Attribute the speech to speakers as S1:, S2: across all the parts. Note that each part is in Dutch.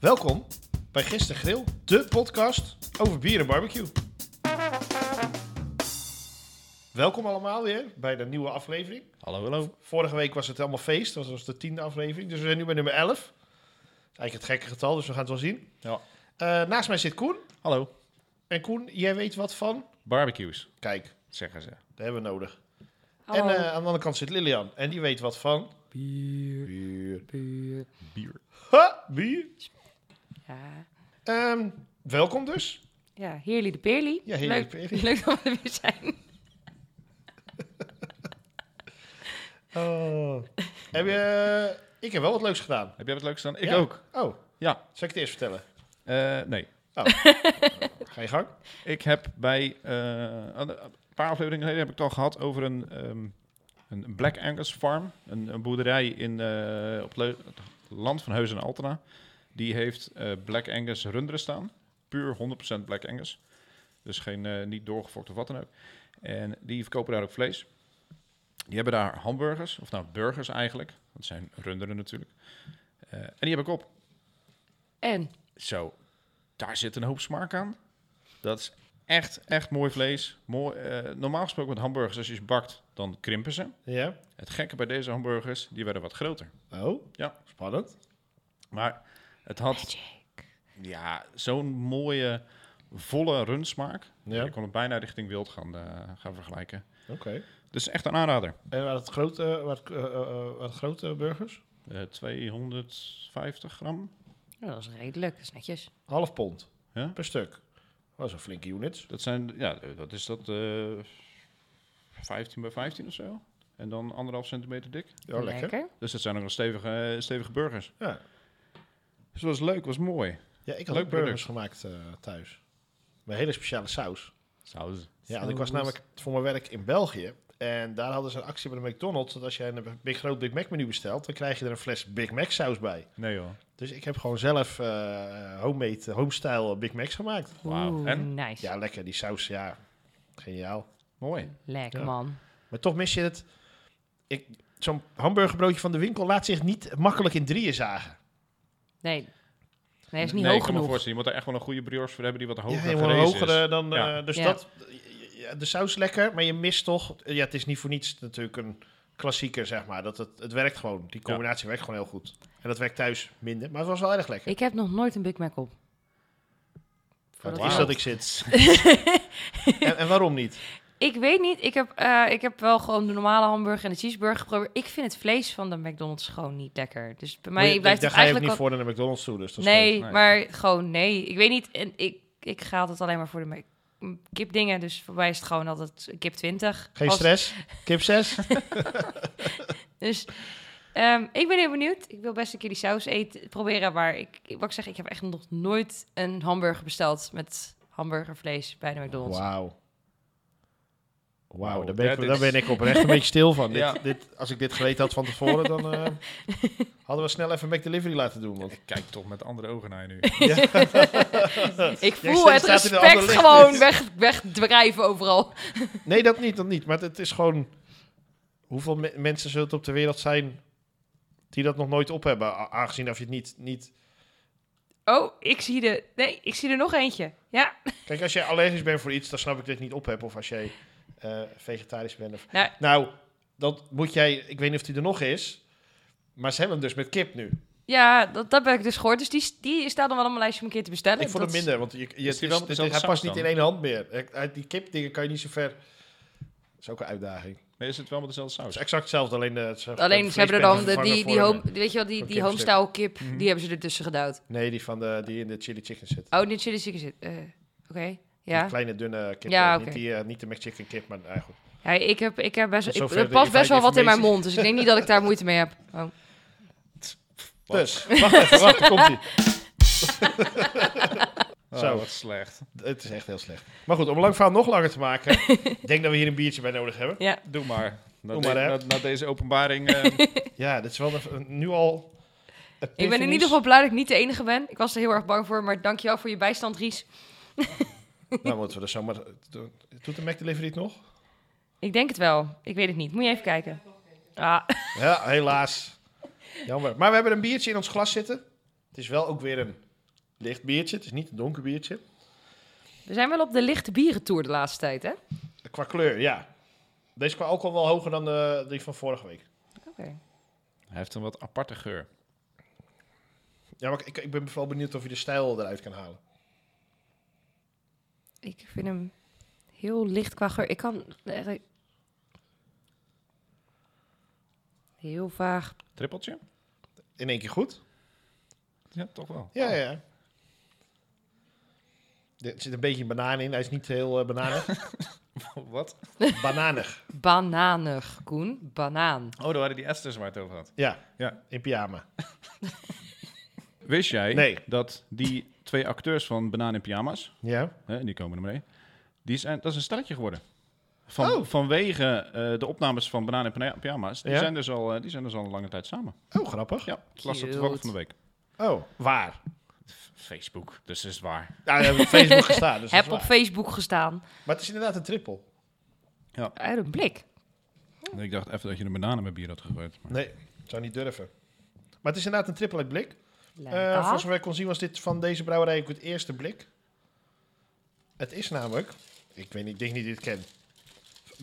S1: Welkom bij Gisteren Grill, de podcast over bier en barbecue. Welkom allemaal weer bij de nieuwe aflevering.
S2: Hallo, hallo.
S1: Vorige week was het allemaal feest, dat was de tiende aflevering. Dus we zijn nu bij nummer 11. Dat is eigenlijk het gekke getal, dus we gaan het wel zien.
S2: Ja.
S1: Eh, naast mij zit Koen.
S2: Hallo.
S1: En Koen, jij weet wat van?
S2: Barbecues,
S1: Kijk,
S2: zeggen ze.
S1: dat hebben we nodig.
S3: Hallo.
S1: En eh, aan de andere kant zit Lilian. En die weet wat van?
S3: Bier,
S1: Bier.
S3: bier.
S2: Bier.
S1: Ha, bier.
S3: Ja,
S1: Ehm, welkom dus.
S3: ja heerlijk de peerly.
S1: Ja, heerlijk
S3: leuk,
S1: de peerly.
S3: Leuk dat we er weer zijn.
S1: Oh. Heb je, ik heb wel wat leuks gedaan.
S2: Heb jij wat leuks gedaan? Ik
S1: Ja.
S2: ook.
S1: Oh,
S2: Ja.
S1: zal ik het eerst vertellen?
S2: Eh, nee.
S1: Ga je gang.
S2: Ik heb bij eh, een een paar afleveringen geleden heb ik het al gehad over een, ehm, een Black Angus Farm. Een, een boerderij in, eh, op Leu- het land van Heus en Altena. Die heeft eh, Black Angus runderen staan. Puur 100% Black Angus. Dus geen, eh, niet doorgefokt of wat dan ook. En die verkopen daar ook vlees. Die hebben daar hamburgers, of nou burgers eigenlijk. Dat zijn runderen natuurlijk. Eh, en die heb ik op.
S3: En,
S2: Zo, daar zit een hoop smaak aan. Dat is echt, echt mooi vlees. Mooi, eh, normaal gesproken met hamburgers, als je ze bakt, dan krimpen ze.
S1: Ja.
S2: Het gekke bij deze hamburgers, die werden wat groter.
S1: Oh,
S2: Ja.
S1: spannend.
S2: Maar het had ja, zo'n mooie, volle rundsmaak.
S1: Ja.
S2: Je kon het bijna richting wild gaan, eh, gaan vergelijken.
S1: Oké.
S2: Dus echt een aanrader.
S1: En waren het grote, waren het, eh, eh, eh, waren het grote burgers?
S2: Eh, 250 gram.
S3: nou, dat is redelijk, dat is netjes.
S1: Half pond
S2: Ja.
S1: per stuk. Dat is een flinke unit.
S2: Dat zijn, ja, dat is dat eh 15 bij 15 of zo. En dan anderhalf centimeter dik.
S1: Ja, lekker.
S2: Dus dat zijn ook nog stevige, eh, stevige burgers.
S1: Ja.
S2: Dus dat was leuk, was mooi.
S1: ja, ik had
S2: Leuk
S1: ook burgers gemaakt eh, thuis. Met hele speciale saus.
S2: Saus.
S1: Ja, want ik was namelijk voor mijn werk in België. En daar hadden ze een actie bij de McDonald's. Dat als jij een big, groot Big Mac menu bestelt, dan krijg je er een fles Big Mac saus bij.
S2: Nee joh.
S1: Dus ik heb gewoon zelf eh homemade, eh, homestyle Big Macs gemaakt.
S2: Wauw.
S3: Oeh,
S2: En?
S3: Nice.
S1: Ja, lekker. Die saus, ja. Geniaal.
S2: Mooi.
S3: Lekker,
S1: Ja.
S3: man.
S1: Maar toch mis je het. Ik, zo'n hamburgerbroodje van de winkel laat zich niet makkelijk in drieën zagen.
S3: Nee, nee hij is niet
S2: nee, ik
S3: hoog
S2: kan me
S3: genoeg.
S2: voorstellen, je moet daar echt wel een goede brioche voor hebben die wat
S1: Ja,
S2: hoger
S1: helemaal
S2: gerezen is.
S1: hoger eh, dan.
S2: Ja.
S1: eh, dus
S3: Ja.
S1: dat. ja, de saus lekker, maar je mist toch. Ja, het is niet voor niets natuurlijk een klassieker, zeg maar. Dat het, het werkt gewoon. Die combinatie werkt gewoon heel goed. En dat werkt thuis minder, maar het was wel erg lekker.
S3: Ik heb nog nooit een Big Mac op.
S1: Wat
S3: Voordat
S1: is
S3: ik-
S1: dat ik zit? en, en waarom niet?
S3: Ik weet niet, ik heb, eh, ik heb wel gewoon de normale hamburger en de cheeseburger geprobeerd. Ik vind het vlees van de McDonald's gewoon niet lekker. Dus bij mij
S1: Maar je-
S3: blijft
S1: daar
S3: het
S1: ga je ook
S3: eigenlijk...
S1: niet
S3: wel-
S1: voor naar de McDonald's toe, dus dat is
S3: nee,
S2: Nee.
S3: maar gewoon nee. Ik weet niet, en ik, ik ga altijd alleen maar voor de Mac- kipdingen. Dus voor mij is het gewoon altijd kip 20.
S1: geen
S3: Als-
S1: stress. Kip 6.
S3: Dus ehm, ik ben heel benieuwd. Ik wil best een keer die saus eten, proberen. Maar ik, ik- wat ik zeg, ik heb echt nog nooit een hamburger besteld met hamburgervlees bij de McDonald's.
S1: Wauw. Wauw,
S2: Wauw,
S1: daar ben, ik,
S2: dat
S1: daar
S2: is-
S1: ben ik oprecht een beetje stil van.
S2: Ja.
S1: Dit, dit, als ik dit geweten had van tevoren, dan eh, hadden we snel even McDelivery laten doen. Want,
S2: Ik kijk toch met andere ogen naar je nu.
S3: Ik
S1: Jij
S3: voel
S1: staat-
S3: het
S1: staat in een
S3: respect
S1: ander licht.
S3: gewoon weg, wegdrijven overal.
S1: nee, dat niet, dat niet. Maar het is gewoon... Hoeveel me- mensen zullen het op de wereld zijn die dat nog nooit op hebben? a- Aangezien of je het niet... niet...
S3: Oh, ik zie de. Nee, ik zie er nog eentje. Ja.
S1: Kijk, als jij allergisch bent voor iets, dan snap ik dat je het niet op hebt. Of als jij eh, vegetarisch bent. Of...
S3: Nou-
S1: nou, dat moet jij... Ik weet niet of die er nog is. Maar ze hebben hem dus met kip nu.
S3: Ja, dat, dat heb ik dus gehoord. Dus die, die staat nog wel op mijn lijstje om een keer te bestellen.
S1: Ik vond het
S3: Dat is-
S1: minder, want je, je,
S2: Is
S1: het
S2: die
S1: is-
S2: wel met
S1: dit-
S2: dezelfde
S1: hij
S2: saus
S1: past niet in
S2: dan?
S1: één hand meer. Eh, Uit die kipdingen kan je niet zo ver. Dat is ook een uitdaging. Het
S2: Nee, is het wel met dezelfde saus?
S1: is exact hetzelfde, alleen... eh, ze-
S3: Alleen
S1: het
S3: ze hebben er dan
S1: vleespen
S3: de, die, die,
S1: vervangen
S3: home,
S1: voor Mhm.
S3: weet je wel, die,
S1: Van
S3: die
S1: kipstuk.
S3: homestyle kip, die hebben ze ertussen gedouwd.
S1: een- Nee, die, van de, die in de chili chicken zit.
S3: Oh, niet chili chicken zit. eh, Oké,
S1: Die
S3: ja.
S1: kleine, dunne kip.
S3: Ja,
S1: eh,
S3: oké.
S1: Niet, die, eh, niet de McChicken kip, maar eh, goed.
S3: Ja, ik heb, ik heb best,
S1: Tot
S3: ik,
S1: zover
S3: er
S1: de
S3: past best wel wat in mijn
S1: informatie.
S3: mond, dus ik denk niet dat ik daar moeite mee heb. Oh.
S2: Wat?
S1: Dus, wacht even, wacht, komt ie.
S2: Oh,
S1: Zo.
S2: wat slecht.
S1: Het is echt heel slecht. Maar goed, om een lang verhaal nog langer te maken... ik denk dat we hier een biertje bij nodig hebben.
S3: Ja,
S2: Doe maar. Na,
S1: Doe maar,
S2: de-
S1: hè.
S2: na- na deze openbaring. eh,
S1: Ja, dit is wel een- een- nu al...
S3: Ik ben in ieder geval blij dat ik niet de enige ben. Ik was er heel erg bang voor, maar dankjewel voor je bijstand, Ries.
S1: Nou, moeten we er zomaar... do- Doet de Mac Delivery het nog?
S3: Ik denk het wel. Ik weet het niet. Moet je even kijken. Ah,
S1: Ja, helaas. Jammer. Maar we hebben een biertje in ons glas zitten. Het is wel ook weer een licht biertje. Het is niet een donker biertje.
S3: we zijn wel op de lichte bierentour de laatste tijd, hè?
S1: Qua kleur, ja. Deze qua alcohol wel hoger dan eh, die van vorige week.
S3: Oké.
S2: Hij heeft een wat aparte geur.
S1: Ja, maar ik, ik ben vooral benieuwd of je de stijl eruit kan halen.
S3: Ik vind hem heel licht qua geur. Ik kan eh, eigenlijk... Heel vaag.
S2: Trippeltje?
S1: In één keer goed?
S2: Ja, toch wel.
S1: Ja, ja. ja. Er zit een beetje banaan in. Hij is niet heel eh, bananig.
S2: wat?
S1: bananig,
S3: Bananig, Koen. Banaan.
S2: Oh, daar waren die esters waar het over had.
S1: ja.
S2: Ja.
S1: In pyjama.
S2: Wist jij
S1: Nee.
S2: dat die twee acteurs van Banaan in Pyjama's,
S1: Ja.
S2: hè, die komen er maar mee, die zijn, dat is een stelletje geworden. Van,
S1: Oh.
S2: Vanwege eh, de opnames van Banaan in Pyja- Pyjama's, die,
S1: Ja.
S2: zijn dus al, eh, die zijn dus al een lange tijd samen.
S1: Oh, grappig.
S2: Ja, ik las dat
S3: Cute.
S2: toevallig van de week.
S1: Oh, waar?
S2: Facebook, dus is het waar.
S1: Nou, we hebben op Facebook gestaan. Dus dat is
S3: Heb op
S1: waar.
S3: Facebook gestaan.
S1: Maar het is inderdaad een triple.
S3: Uit een blik.
S1: Eh,
S2: Ik dacht even dat je een bananen met bier had gegooid. maar-
S1: Nee, ik zou niet durven. Maar het is inderdaad een triple uit blik. Eh
S3: Lekker.
S1: voor zover ik kon zien was dit van deze brouwerij ook het eerste blik. Het is namelijk, ik weet niet, ik denk niet dat je dit ken.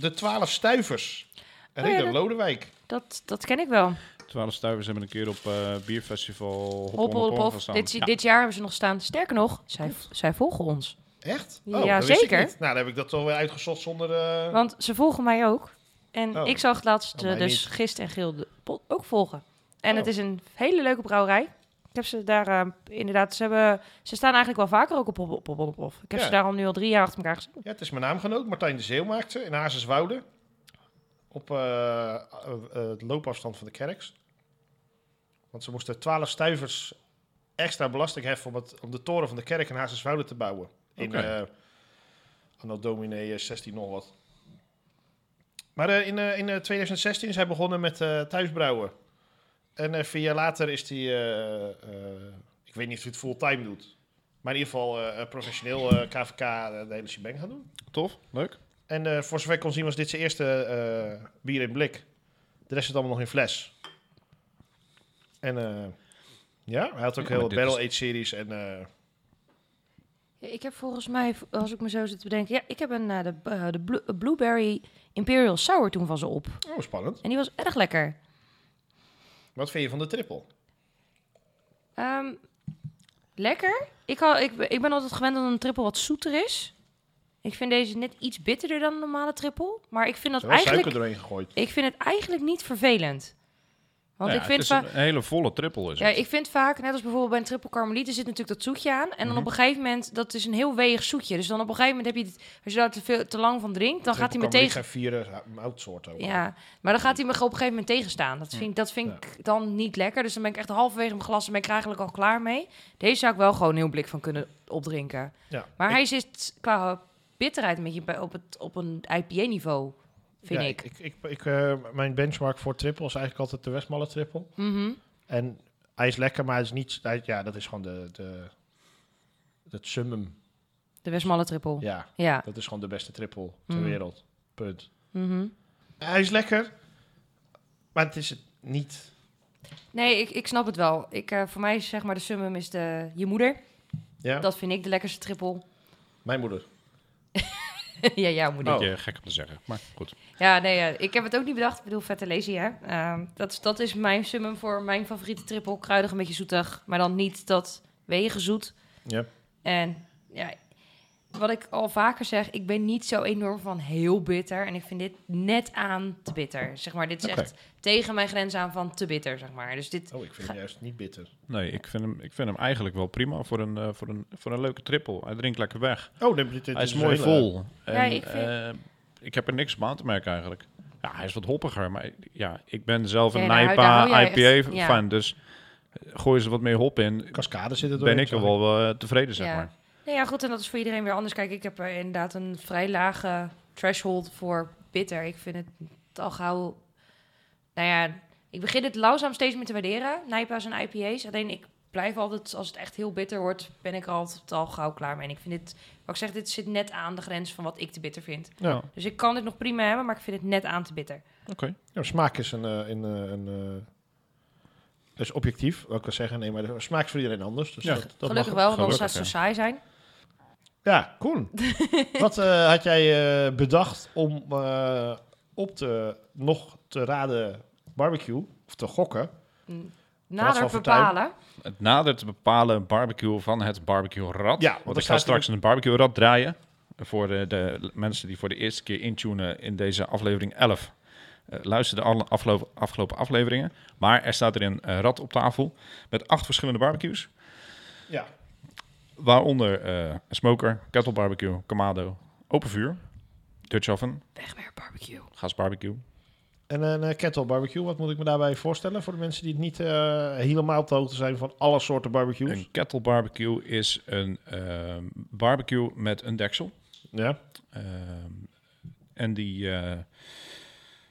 S1: De 12 stuivers. En
S3: Oh ja,
S1: Ridder
S3: dat-
S1: Lodewijk.
S3: dat, dat ken ik wel.
S2: Twaalf stuivers hebben een keer op eh, bierfestival Hop,
S3: Hop,
S2: on,
S3: hop,
S2: Hop on
S3: hop.
S2: gestaan.
S3: Dit,
S2: Ja.
S3: dit jaar hebben ze nog staan. Sterker nog, zij, zij volgen ons.
S1: Echt?
S3: Ja,
S1: dat wist ik
S3: zeker.
S1: niet. Nou, dan heb ik dat toch weer uitgezocht zonder... eh,
S3: Want ze volgen mij ook. En
S1: Oh.
S3: ik zag het laatst
S1: Oh,
S3: eh,
S1: mij
S3: dus
S1: niet.
S3: Gist en Geel de pod- ook volgen. En het
S1: Oh.
S3: is een hele leuke brouwerij. Ik heb ze daar eh, inderdaad... Ze, hebben, ze staan eigenlijk wel vaker ook op Hop, hop, hop, hop, hop. Ik heb
S1: Ja.
S3: ze daar al nu al drie jaar achter elkaar gezien.
S1: Ja, het is mijn naamgenoot. Martijn de Zeeuw maakt ze in Hazenswoude. Op eh, eh, eh, het loopafstand van de kerks. Want ze moesten 12 stuivers extra belasting heffen... om, het, om de toren van de kerk in Hazenswoude te bouwen. In
S2: Oké.
S1: eh anno dominee eh, 16 nog wat. Maar eh, in, eh, in eh, 2016 is hij begonnen met eh, thuisbrouwen. En eh, vier jaar later is hij... eh, eh, ik weet niet of hij het fulltime doet... Maar in ieder geval eh, eh, professioneel eh, KVK eh, de hele shebang gaan doen.
S2: Tof, leuk.
S1: En eh, voor zover ik kon zien was dit zijn eerste eh, bier in blik. De rest zit allemaal nog in fles. En eh, ja, hij had ook
S2: Ja,
S1: heel
S2: maar
S1: wat
S2: dit
S1: Barrel Age series en eh,
S3: Ja, ik heb volgens mij, als ik me zo zit te bedenken... Ja, ik heb een, eh, de, eh, de Blue- Blueberry Imperial Sour toen van ze op.
S1: oh spannend.
S3: En die was erg lekker.
S1: Wat vind je van de triple?
S3: Ehm, lekker. Ik, hou- ik, ben- ik ben altijd gewend dat een triple wat zoeter is. Ik vind deze net iets bitterder dan een normale triple. Maar ik vind,
S1: Er is
S3: dat
S1: wel
S3: eigenlijk,
S1: suiker doorheen gegooid.
S3: ik vind het eigenlijk niet vervelend. Want
S2: Nou ja,
S3: ik, vind
S2: het is
S3: va-
S2: een hele volle triple is
S3: ja,
S2: het.
S3: ik vind vaak, net als bijvoorbeeld bij een triple karmeliet, er zit natuurlijk dat zoetje aan. En dan
S2: Mhm.
S3: op een gegeven moment, dat is een heel weeg zoetje. Dus dan op een gegeven moment heb je, het- als je daar te, veel, te lang van drinkt, dan gaat hij me tegen.
S1: zijn vier eh, moutsoorten. ook.
S3: Ja, maar dan gaat hij me op een gegeven moment tegenstaan. Dat vind, ik- dat vind
S1: Ja.
S3: ik dan niet lekker. Dus dan ben ik echt halverwege mijn glas en ben ik er eigenlijk al klaar mee. Deze zou ik wel gewoon een heel blik van kunnen opdrinken.
S1: Ja.
S3: Maar
S1: Ik-
S3: hij zit qua bitterheid een beetje bij- op, het, op een IPA-niveau, vind
S1: ja,
S3: ik.
S1: ik, ik, ik, eh, mijn benchmark voor triple is eigenlijk altijd de Westmalle triple.
S3: Mhm.
S1: En hij is lekker, maar hij is niet... hij- ja, dat is gewoon de... de het summum.
S3: De Westmalle triple. Ja.
S1: Ja, dat is gewoon de beste triple ter
S3: Mm.
S1: wereld. Punt.
S3: Mhm.
S1: Hij is lekker, maar het is het niet.
S3: Nee, ik, ik snap het wel. Ik, eh, voor mij is zeg maar de summum is de, je moeder.
S1: Ja?
S3: Dat vind ik de lekkerste triple.
S1: Mijn moeder.
S3: ja, jouw moeder.
S2: Beetje
S1: Oh.
S2: gek om te zeggen, maar goed.
S3: Ja, nee, ja. ik heb het ook niet bedacht. Ik bedoel, vette lazy, hè. Ehm, dat, is- dat is mijn summum voor mijn favoriete triple. Kruidig, een beetje zoetig, maar dan niet dat wegen zoet.
S1: Ja.
S3: En ja, wat ik al vaker zeg, ik ben niet zo enorm van heel bitter. En ik vind dit net aan te bitter, zeg maar. Dit is
S1: Oké.
S3: echt tegen mijn grens aan van te bitter, zeg maar. Dus dit,
S1: Oh, ik vind hem juist niet bitter.
S2: Nee, ik vind hem, ik vind hem eigenlijk wel prima voor een, eh, voor, een, voor een leuke triple. Hij drinkt lekker weg.
S1: Oh, dit, dit, dit
S2: Hij is
S1: een
S2: mooi
S1: hele-
S2: vol. En,
S3: Ja, ik vind-
S2: eh, ik heb er niks op aan te merken eigenlijk. Ja, hij is wat hoppiger, maar ja, ik ben zelf een
S3: Ja, daar hou- nou, daar hou
S2: NIPA,
S3: jij echt-
S2: IPA
S3: ja.
S2: fan, dus eh, gooi ze wat meer hop in,
S1: Cascade zit er
S2: ben
S1: doorheen,
S2: ik er
S1: zag
S2: wel eh, tevreden, zeg
S3: Ja.
S2: maar.
S3: Nee, Nou ja, goed, en dat is voor iedereen weer anders. Kijk, ik heb eh, inderdaad een vrij lage threshold voor bitter. Ik vind het al gauw... Nou ja, Ik begin het langzaam steeds meer te waarderen, nijpa's en IPA's. Alleen ik blijf altijd, als het echt heel bitter wordt, ben ik er altijd al gauw klaar mee. En ik vind dit, wat ik zeg, dit zit net aan de grens van wat ik te bitter vind.
S1: Ja.
S3: Dus ik kan dit nog prima hebben, maar ik vind het net aan te bitter.
S2: Oké.
S1: Ja, smaak is een, eh, een, eh, een, eh, is objectief, wil ik wel zeggen. Nee, maar de smaak is voor iedereen anders. Dus
S2: Ja.
S1: dat, dat
S3: Gelukkig
S1: mag ook.
S3: wel, want anders zou
S2: Gelukkig,
S3: het zo saai zijn.
S1: Ja, Koen. Wat eh, had jij eh, bedacht om eh, op te, nog te raden barbecue, of te gokken?
S3: Nader
S1: van Fortuyn.
S3: bepalen.
S2: Het nader te bepalen barbecue van het barbecue rad.
S1: Ja, want
S2: want
S1: er
S2: ik ga
S1: staat
S2: straks een barbecue rad draaien. Voor de, de mensen die voor de eerste keer intunen in deze aflevering 11. Eh, luister de alle aflo- afgelopen afleveringen. Maar er staat er een eh, rad op tafel met acht verschillende barbecues.
S1: Ja.
S2: Waaronder eh, een smoker, kettle barbecue, kamado, open vuur, Dutch oven,
S3: Wegwerp barbecue.
S2: gasbarbecue.
S1: En een eh, kettle barbecue, wat moet ik me daarbij voorstellen? Voor de mensen die het niet eh, helemaal op de hoogte zijn van alle soorten barbecues.
S2: Een kettle barbecue is een ehm, barbecue met een deksel.
S1: Ja.
S2: Ehm, en die, eh,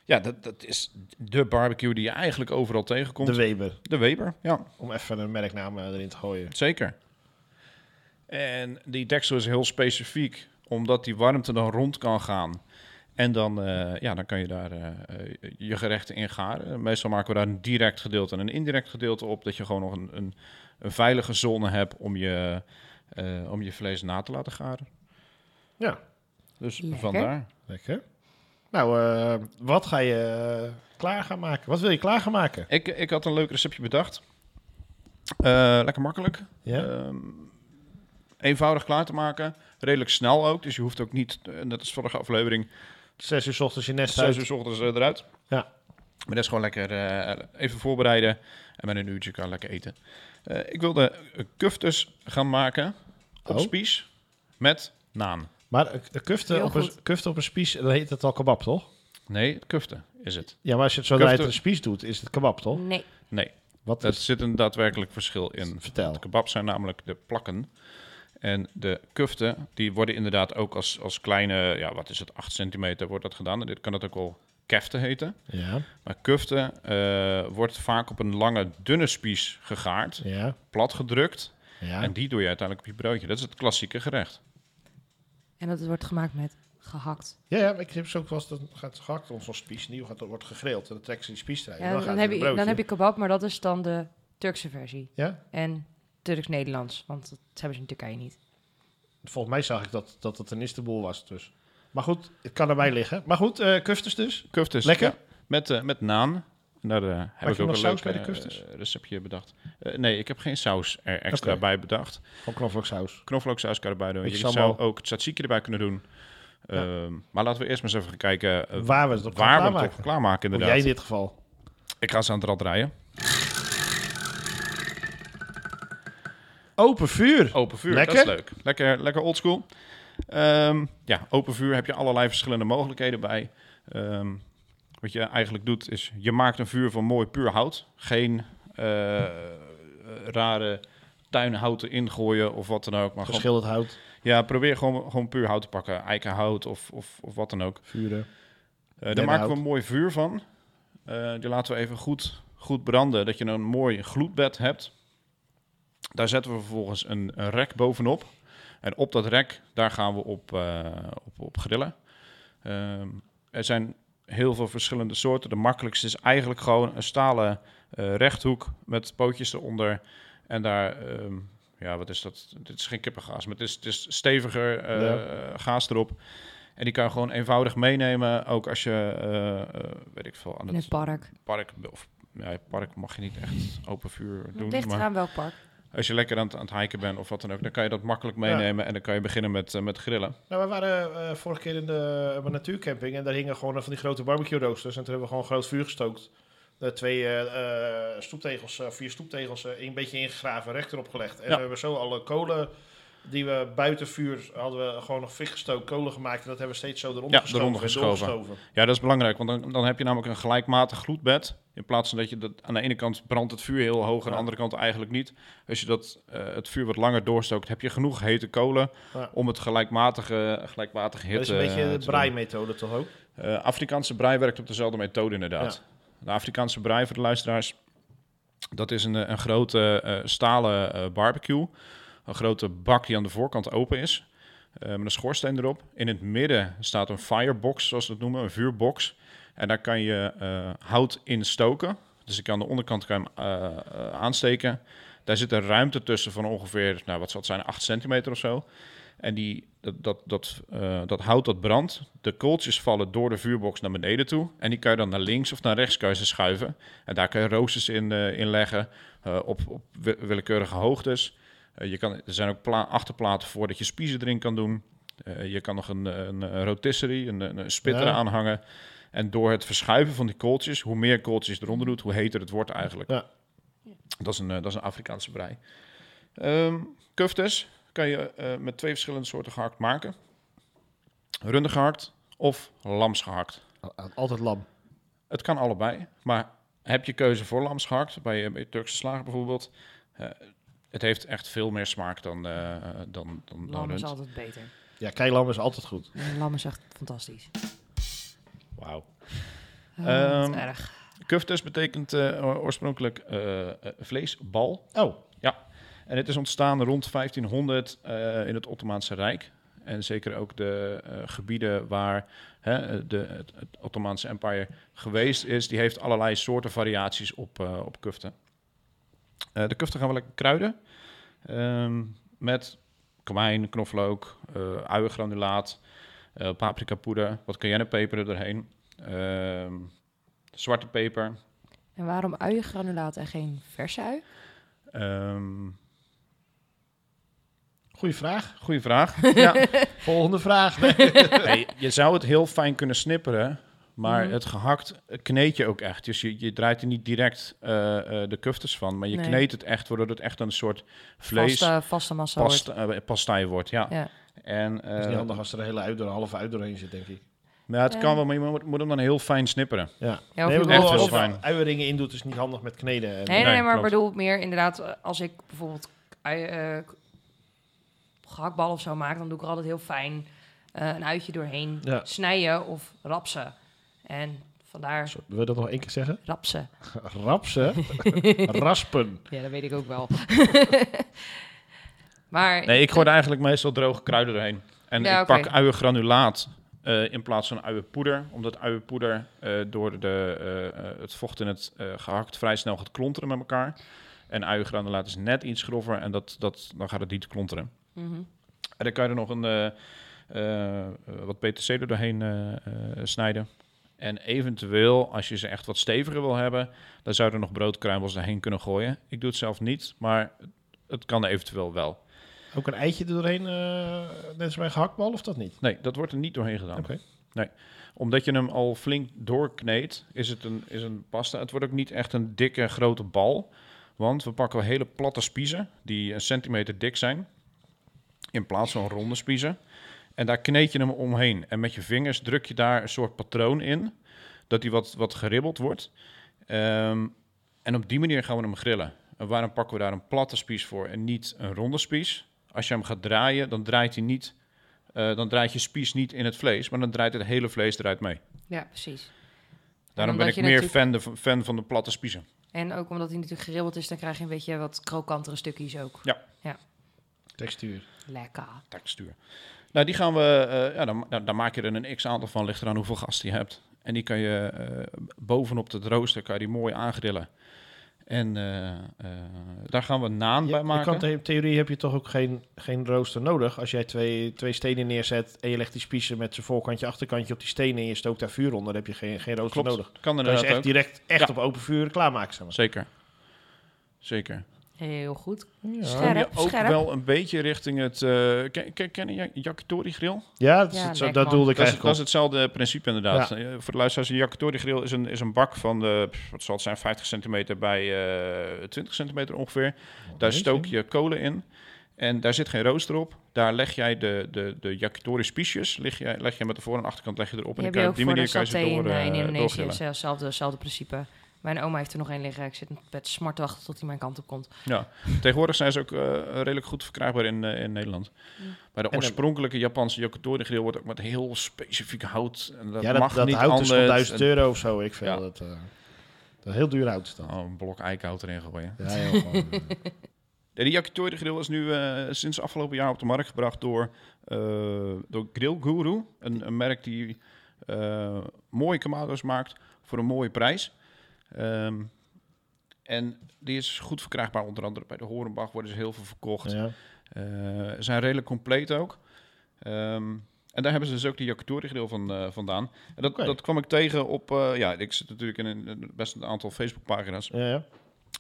S2: ja, dat, dat is de barbecue die je eigenlijk overal tegenkomt.
S1: De
S2: De,
S1: Weber,
S2: Weber, ja,
S1: om even een merknaam eh, erin te gooien.
S2: zeker. En die deksel is heel specifiek, omdat die warmte dan rond kan gaan. En dan, eh, ja, dan kan je daar eh, eh, je gerechten in garen. Meestal maken we daar een direct gedeelte en een indirect gedeelte op. Dat je gewoon nog een, een, een veilige zone hebt om je, eh, om je vlees na te laten garen.
S1: Ja.
S2: Dus
S3: Lekker.
S2: vandaar.
S1: Lekker. Nou, eh, wat ga je eh, klaar gaan maken? Wat wil je klaar gaan maken?
S2: Ik, ik had een leuk receptje bedacht. Eh, lekker makkelijk.
S1: Ja.
S2: Ehm, eenvoudig klaar te maken. Redelijk snel ook. Dus je hoeft ook niet, eh, net als vorige aflevering,
S1: Zes uur 's ochtends je nest uit.
S2: zes uur 's ochtends eh, eruit.
S1: Ja.
S2: Maar dat is gewoon lekker eh, even voorbereiden. En met een uurtje kan je lekker eten. Eh, ik wilde eh, kuftes gaan maken op
S1: Oh.
S2: spies met naan.
S1: Maar eh, k- kuften
S3: Heel
S1: op, een,
S3: goed.
S1: kuften op een spies, dan heet het al kebab, toch?
S2: Nee, kuften is het.
S1: Ja, maar als je het zo
S2: Kuften-
S1: draait een spies doet, is het kebab, toch?
S3: Nee.
S2: Nee,
S1: Wat
S2: er
S1: is-
S2: zit een daadwerkelijk verschil in.
S1: Vertel.
S2: De kebabs zijn namelijk de plakken. En de kuften, die worden inderdaad ook als, als kleine, ja, wat is het, 8 centimeter wordt dat gedaan. En dit kan het ook wel keften heten.
S1: Ja,
S2: Maar kuften eh, wordt vaak op een lange, dunne spies gegaard,
S1: ja,
S2: plat gedrukt.
S1: ja.
S2: En die doe je uiteindelijk op je broodje. Dat is het klassieke gerecht.
S3: En dat wordt gemaakt met gehakt.
S1: Ja, ja, ik heb zo ook wel eens, dan gaat gehakt om zo'n spies, nieuw gaat, wordt gegrild en dan trekken ze die spies eruit.
S3: Ja,
S1: en
S3: dan,
S1: dan, gaat
S3: heb
S1: het
S3: je,
S1: in een
S3: dan heb je
S1: broodje.
S3: kebab, maar dat is dan de Turkse versie.
S1: Ja,
S3: En Turks-Nederlands, want dat hebben ze in Turkije niet.
S1: volgens mij zag ik dat dat het een istanbul was, dus. Maar goed, het kan erbij liggen. Maar goed, eh kufters dus.
S2: Kuftes.
S1: Lekker?
S2: ja, met, eh, met naan. En daar eh, heb
S1: je
S2: ik ook
S1: nog
S2: een
S1: saus
S2: leuk
S1: bij de
S2: eh,
S1: kuftes?
S2: eh, receptje bedacht. Eh, nee, ik heb geen saus er extra
S1: Oké.
S2: bij bedacht.
S1: Van knoflooksaus.
S2: knoflooksaus kan erbij doen. Je
S1: Beetje
S2: zou
S1: sambal.
S2: ook tzatziki erbij kunnen doen.
S1: Ja.
S2: Ehm, maar laten we eerst maar eens even gaan kijken eh,
S1: Waar we het op gaan
S2: waar we het
S1: klaarmaken.
S2: toch gaan klaarmaken
S1: Of
S2: inderdaad.
S1: jij in dit geval.
S2: Ik ga ze aan het rad draaien.
S1: Open vuur.
S2: Open vuur,
S1: Lekker?
S2: dat is leuk. Lekker, lekker oldschool. Ehm ja, open vuur heb je allerlei verschillende mogelijkheden bij. Ehm, wat je eigenlijk doet is, je maakt een vuur van mooi puur hout. Geen eh, rare tuinhouten ingooien of wat dan ook. Maar gewoon,
S1: Geschilderd hout,
S2: ja, probeer gewoon, gewoon puur hout te pakken. Eikenhout of, of, of wat dan ook.
S1: vuren.
S2: Eh, daar
S1: Dennenhout.
S2: maken we een mooi vuur van. Eh, die laten we even goed, goed branden, dat je een mooi gloedbed hebt. Daar zetten we vervolgens een, een rek bovenop. En op dat rek, daar gaan we op, eh, op, op grillen. Ehm, er zijn heel veel verschillende soorten. De makkelijkste is eigenlijk gewoon een stalen eh, rechthoek met pootjes eronder. En daar, ehm, ja, wat is dat? Dit is geen kippengaas, maar het is, het is steviger eh, gaas erop. En die kan je gewoon eenvoudig meenemen, ook als je, eh, eh, weet ik veel, aan
S3: In het
S2: het
S3: park.
S2: park... Of, ja, het park mag je niet echt open vuur doen.
S3: Het ligt
S2: maar-
S3: eraan welk park.
S2: als je lekker aan het, aan het hiken bent of wat dan ook, dan kan je dat makkelijk meenemen en dan kan je beginnen met, eh, met grillen.
S1: Nou, we waren eh, vorige keer in de, op een natuurcamping en daar hingen gewoon van die grote barbecue roosters. En toen hebben we gewoon een groot vuur gestookt. Eh, twee eh, eh, stoeptegels, eh, vier stoeptegels, eh, een beetje ingegraven, recht erop gelegd. En
S2: Ja.
S1: we hebben zo alle kolen die we buiten vuur hadden, we gewoon nog fik gestookt, kolen gemaakt. En dat hebben we steeds zo eronder
S2: Ja,
S1: gestoven.
S2: eronder
S1: en
S2: geschoven.
S1: doorgestoven.
S2: Ja, dat is belangrijk, want dan, dan heb je namelijk een gelijkmatig gloedbed. In plaats van dat je dat aan de ene kant brandt het vuur heel hoog, aan de
S1: Ja.
S2: andere kant eigenlijk niet. Als je dat, eh, het vuur wat langer doorstookt, heb je genoeg hete kolen
S1: Ja.
S2: om het gelijkmatige, gelijkmatige hitte
S1: Dat is een beetje de
S2: eh, te
S1: braai-methode toch ook?
S2: doen. Eh, Afrikaanse braai werkt op dezelfde methode inderdaad. De Afrikaanse braai voor de luisteraars. Dat is een, eh, een grote eh, stalen eh, barbecue. Een grote bak die aan de voorkant open is. eh, met een schoorsteen erop. In het midden staat een firebox, zoals ze dat noemen. Een vuurbox. En daar kan je eh, hout in stoken. Dus ik kan aan de onderkant kan je hem eh, eh, aansteken. Daar zit een ruimte tussen van ongeveer, nou wat zal het zijn, 8 centimeter of zo. En die, dat, dat, dat, eh, dat hout dat brandt, de kooltjes vallen door de vuurbox naar beneden toe. En die kan je dan naar links of naar rechts kan je ze schuiven. En daar kan je roosters in, eh, in leggen eh, op, op wi- willekeurige hoogtes. Eh, je kan, er zijn ook pla- achterplaten voor dat je spiezen erin kan doen. Eh, je kan nog een, een, een rotisserie, een, een een spitter
S1: Ja.
S2: aanhangen. En door het verschuiven van die kooltjes, hoe meer kooltjes je eronder doet, hoe heter het wordt eigenlijk.
S1: Ja.
S2: Dat, is een, eh, dat is een Afrikaanse brei. Ehm kuftes kan je eh, met twee verschillende soorten gehakt maken. Rundengehakt of lamsgehakt.
S1: Al- Altijd lam.
S2: Het kan allebei, maar heb je keuze voor lamsgehakt, bij, eh, bij Turkse slager bijvoorbeeld, eh, het heeft echt veel meer smaak dan, eh dan, dan, dan
S3: Lam is
S2: rund.
S3: altijd beter.
S1: Ja, keilam is altijd goed.
S3: Lam is echt fantastisch.
S1: Wauw.
S3: Oh,
S2: Ehm,
S3: wat erg.
S2: Kuftes betekent eh, o- oorspronkelijk eh, eh, vleesbal.
S1: Oh,
S2: En het is ontstaan rond 1500 eh, in het Ottomaanse Rijk. En zeker ook de eh, gebieden waar hè, de, het, het Ottomaanse Empire geweest is, die heeft allerlei soorten variaties op, eh, op kuften. Eh, de kuften gaan we lekker kruiden ehm, met komijn, knoflook, eh uiengranulaat, eh paprika poeder, wat cayennepeper er doorheen, ehm, zwarte peper,
S3: En waarom uiengranulaat en geen verse ui?
S2: ehm,
S1: goede vraag.
S2: goeie vraag. ja.
S1: Volgende vraag. Nee.
S2: Nee, je zou het heel fijn kunnen snipperen, maar
S3: Mhm.
S2: het gehakt kneed je ook echt. Dus je, je draait er niet direct eh, eh, de kuftes van, maar je
S3: Nee.
S2: kneedt het echt, waardoor het echt een soort vlees
S3: Vaste, vaste massa wordt.
S2: past, eh, pastei wordt. Ja.
S3: Ja.
S2: En,
S1: Dat is
S2: eh,
S1: niet handig als er een hele uit door, een halve uit doorheen zit, denk ik.
S2: nou, het
S3: Eh.
S2: kan wel, maar je moet, moet hem dan heel fijn snipperen.
S1: Ja,
S3: Ja, of je
S1: maar
S3: wil-
S2: echt
S1: als
S2: heel
S1: je er
S2: fijn.
S1: uieringen in doet, is het niet handig met kneden. En,
S3: Nee, nee,
S2: Nee,
S3: nee, maar ik
S2: klopt.
S3: bedoel meer inderdaad, eh, als ik bijvoorbeeld ui- eh, gehaktbal of zo maak, dan doe ik er altijd heel fijn eh, een uitje doorheen
S1: Ja.
S3: snijden of rapsen. En vandaar
S1: Sorry, wil je dat nog één keer zeggen?
S3: rapsen.
S1: Rapsen. Raspen.
S3: Ja, dat weet ik ook wel. maar
S2: Nee, ik gooi er eigenlijk meestal droge kruiden doorheen. En
S3: Ja,
S2: ik
S3: oké.
S2: pak uiengranulaat eh, in plaats van uienpoeder, omdat uienpoeder eh, door de, eh, eh, het vocht in het eh, gehakt vrij snel gaat klonteren met elkaar. En uiengranulaat is net iets grover en dat, dat, dan gaat het niet klonteren.
S3: Mhm.
S2: En dan kan je er nog een, eh, eh, wat PTC er doorheen eh, eh, snijden. En eventueel, als je ze echt wat steviger wil hebben, dan zou je er nog broodkruimels doorheen kunnen gooien. Ik doe het zelf niet, maar het kan eventueel wel.
S1: Ook een eitje er doorheen, eh, net als bij een gehaktbal, of dat niet?
S2: Nee, dat wordt er niet doorheen gedaan.
S1: Oké.
S2: Omdat je hem al flink doorkneedt, is het een, is een pasta. Het wordt ook niet echt een dikke grote bal. Want we pakken hele platte spiezen, die een centimeter dik zijn. In plaats van ronde spiezen. En daar kneed je hem omheen. En met je vingers druk je daar een soort patroon in. Dat die wat, wat geribbeld wordt. Ehm, en op die manier gaan we hem grillen. En waarom pakken we daar een platte spies voor en niet een ronde spies? Als je hem gaat draaien, dan draait hij niet eh, dan draait je spies niet in het vlees, maar dan draait het hele vlees eruit mee.
S3: ja, precies.
S2: Daarom ben
S3: omdat je
S2: ik meer fan, de, fan van de platte spiezen.
S3: En ook omdat hij natuurlijk geribbeld is, dan krijg je een beetje wat krokantere stukjes ook.
S1: Textuur.
S3: Lekker.
S2: Textuur. Nou, die gaan we, eh, ja, dan, dan, dan maak je er een x aantal van, ligt eraan hoeveel gasten je hebt. En die kan je eh, bovenop het rooster kan je die mooi aangrillen. En eh, eh, daar gaan we naan
S1: Je-
S2: bij
S1: je
S2: maken.
S1: kan in theorie heb je toch ook geen, geen rooster nodig. Als jij twee, twee stenen neerzet en je legt die spiezen met zijn voorkantje, achterkantje op die stenen en je stookt daar vuur onder, dan heb je geen, geen rooster
S2: Klopt,
S1: nodig.
S2: kan
S1: Dan kan je
S2: inderdaad
S1: ze echt
S2: ook.
S1: direct echt
S2: Ja.
S1: op open vuur klaarmaken. Zeg maar.
S2: Zeker. Zeker.
S3: Heel goed.
S2: Kom je
S3: Scherp,
S2: ook
S3: scherp.
S2: wel een beetje richting het... eh ken, ken, ken je yakitori grill?
S1: Ja, dat, is
S3: Ja,
S1: het, zo,
S3: lekker,
S1: dat doelde ik
S2: Dat is, dat
S1: eigenlijk
S2: is hetzelfde principe inderdaad. Eh, Voor de luisteraars, een yakitori grill is een, is een bak van, eh, pff, wat zal het zijn, 50 centimeter bij eh 20 centimeter ongeveer.
S1: op.
S2: Daar stook je kolen in en daar zit geen rooster op. Daar leg jij de, de, de yakitori spiesjes, leg jij, leg jij met de voor- en achterkant leg je erop.
S3: Die
S2: En dan
S3: heb je
S2: kan je op
S3: ook
S2: die
S3: voor de
S2: manier kan je
S3: saté
S2: ze
S3: in,
S2: door,
S3: eh, in
S2: eh,
S3: Indonesië.
S2: doorgrillen.
S3: Is hetzelfde, hetzelfde principe. Mijn oma heeft er nog één liggen. Ik zit met smartwacht tot hij mijn kant op komt.
S2: Ja. Tegenwoordig zijn ze ook eh, redelijk goed verkrijgbaar in, eh, in Nederland. Maar de
S1: dan-
S2: oorspronkelijke Japanse yakitori grill wordt ook met heel specifiek hout. En dat
S1: ja, dat,
S2: mag
S1: dat
S2: niet
S1: houdt dus
S2: anders.
S1: van 1000
S2: En-
S1: euro of zo. Ik vind
S2: Ja.
S1: dat, eh, Dat is heel duur hout is dat.
S2: Oh, een blok eikenhout erin gooien.
S1: Ja, joh, gewoon, eh,
S2: Ja, die yakitori grill is nu eh, sinds afgelopen jaar op de markt gebracht door, eh door Grill Guru. Een, een merk die eh, mooie kamado's maakt voor een mooie prijs. Ehm, en die is goed verkrijgbaar, onder andere bij de Horenbach worden ze heel veel verkocht.
S1: ja.
S2: Eh, zijn redelijk compleet ook. Ehm, en daar hebben ze dus ook de yakitori grill van, eh, vandaan. En dat,
S1: Oké.
S2: dat kwam ik tegen op... eh, ja, ik zit natuurlijk in een, een- best een aantal Facebookpagina's.
S1: ja, ja.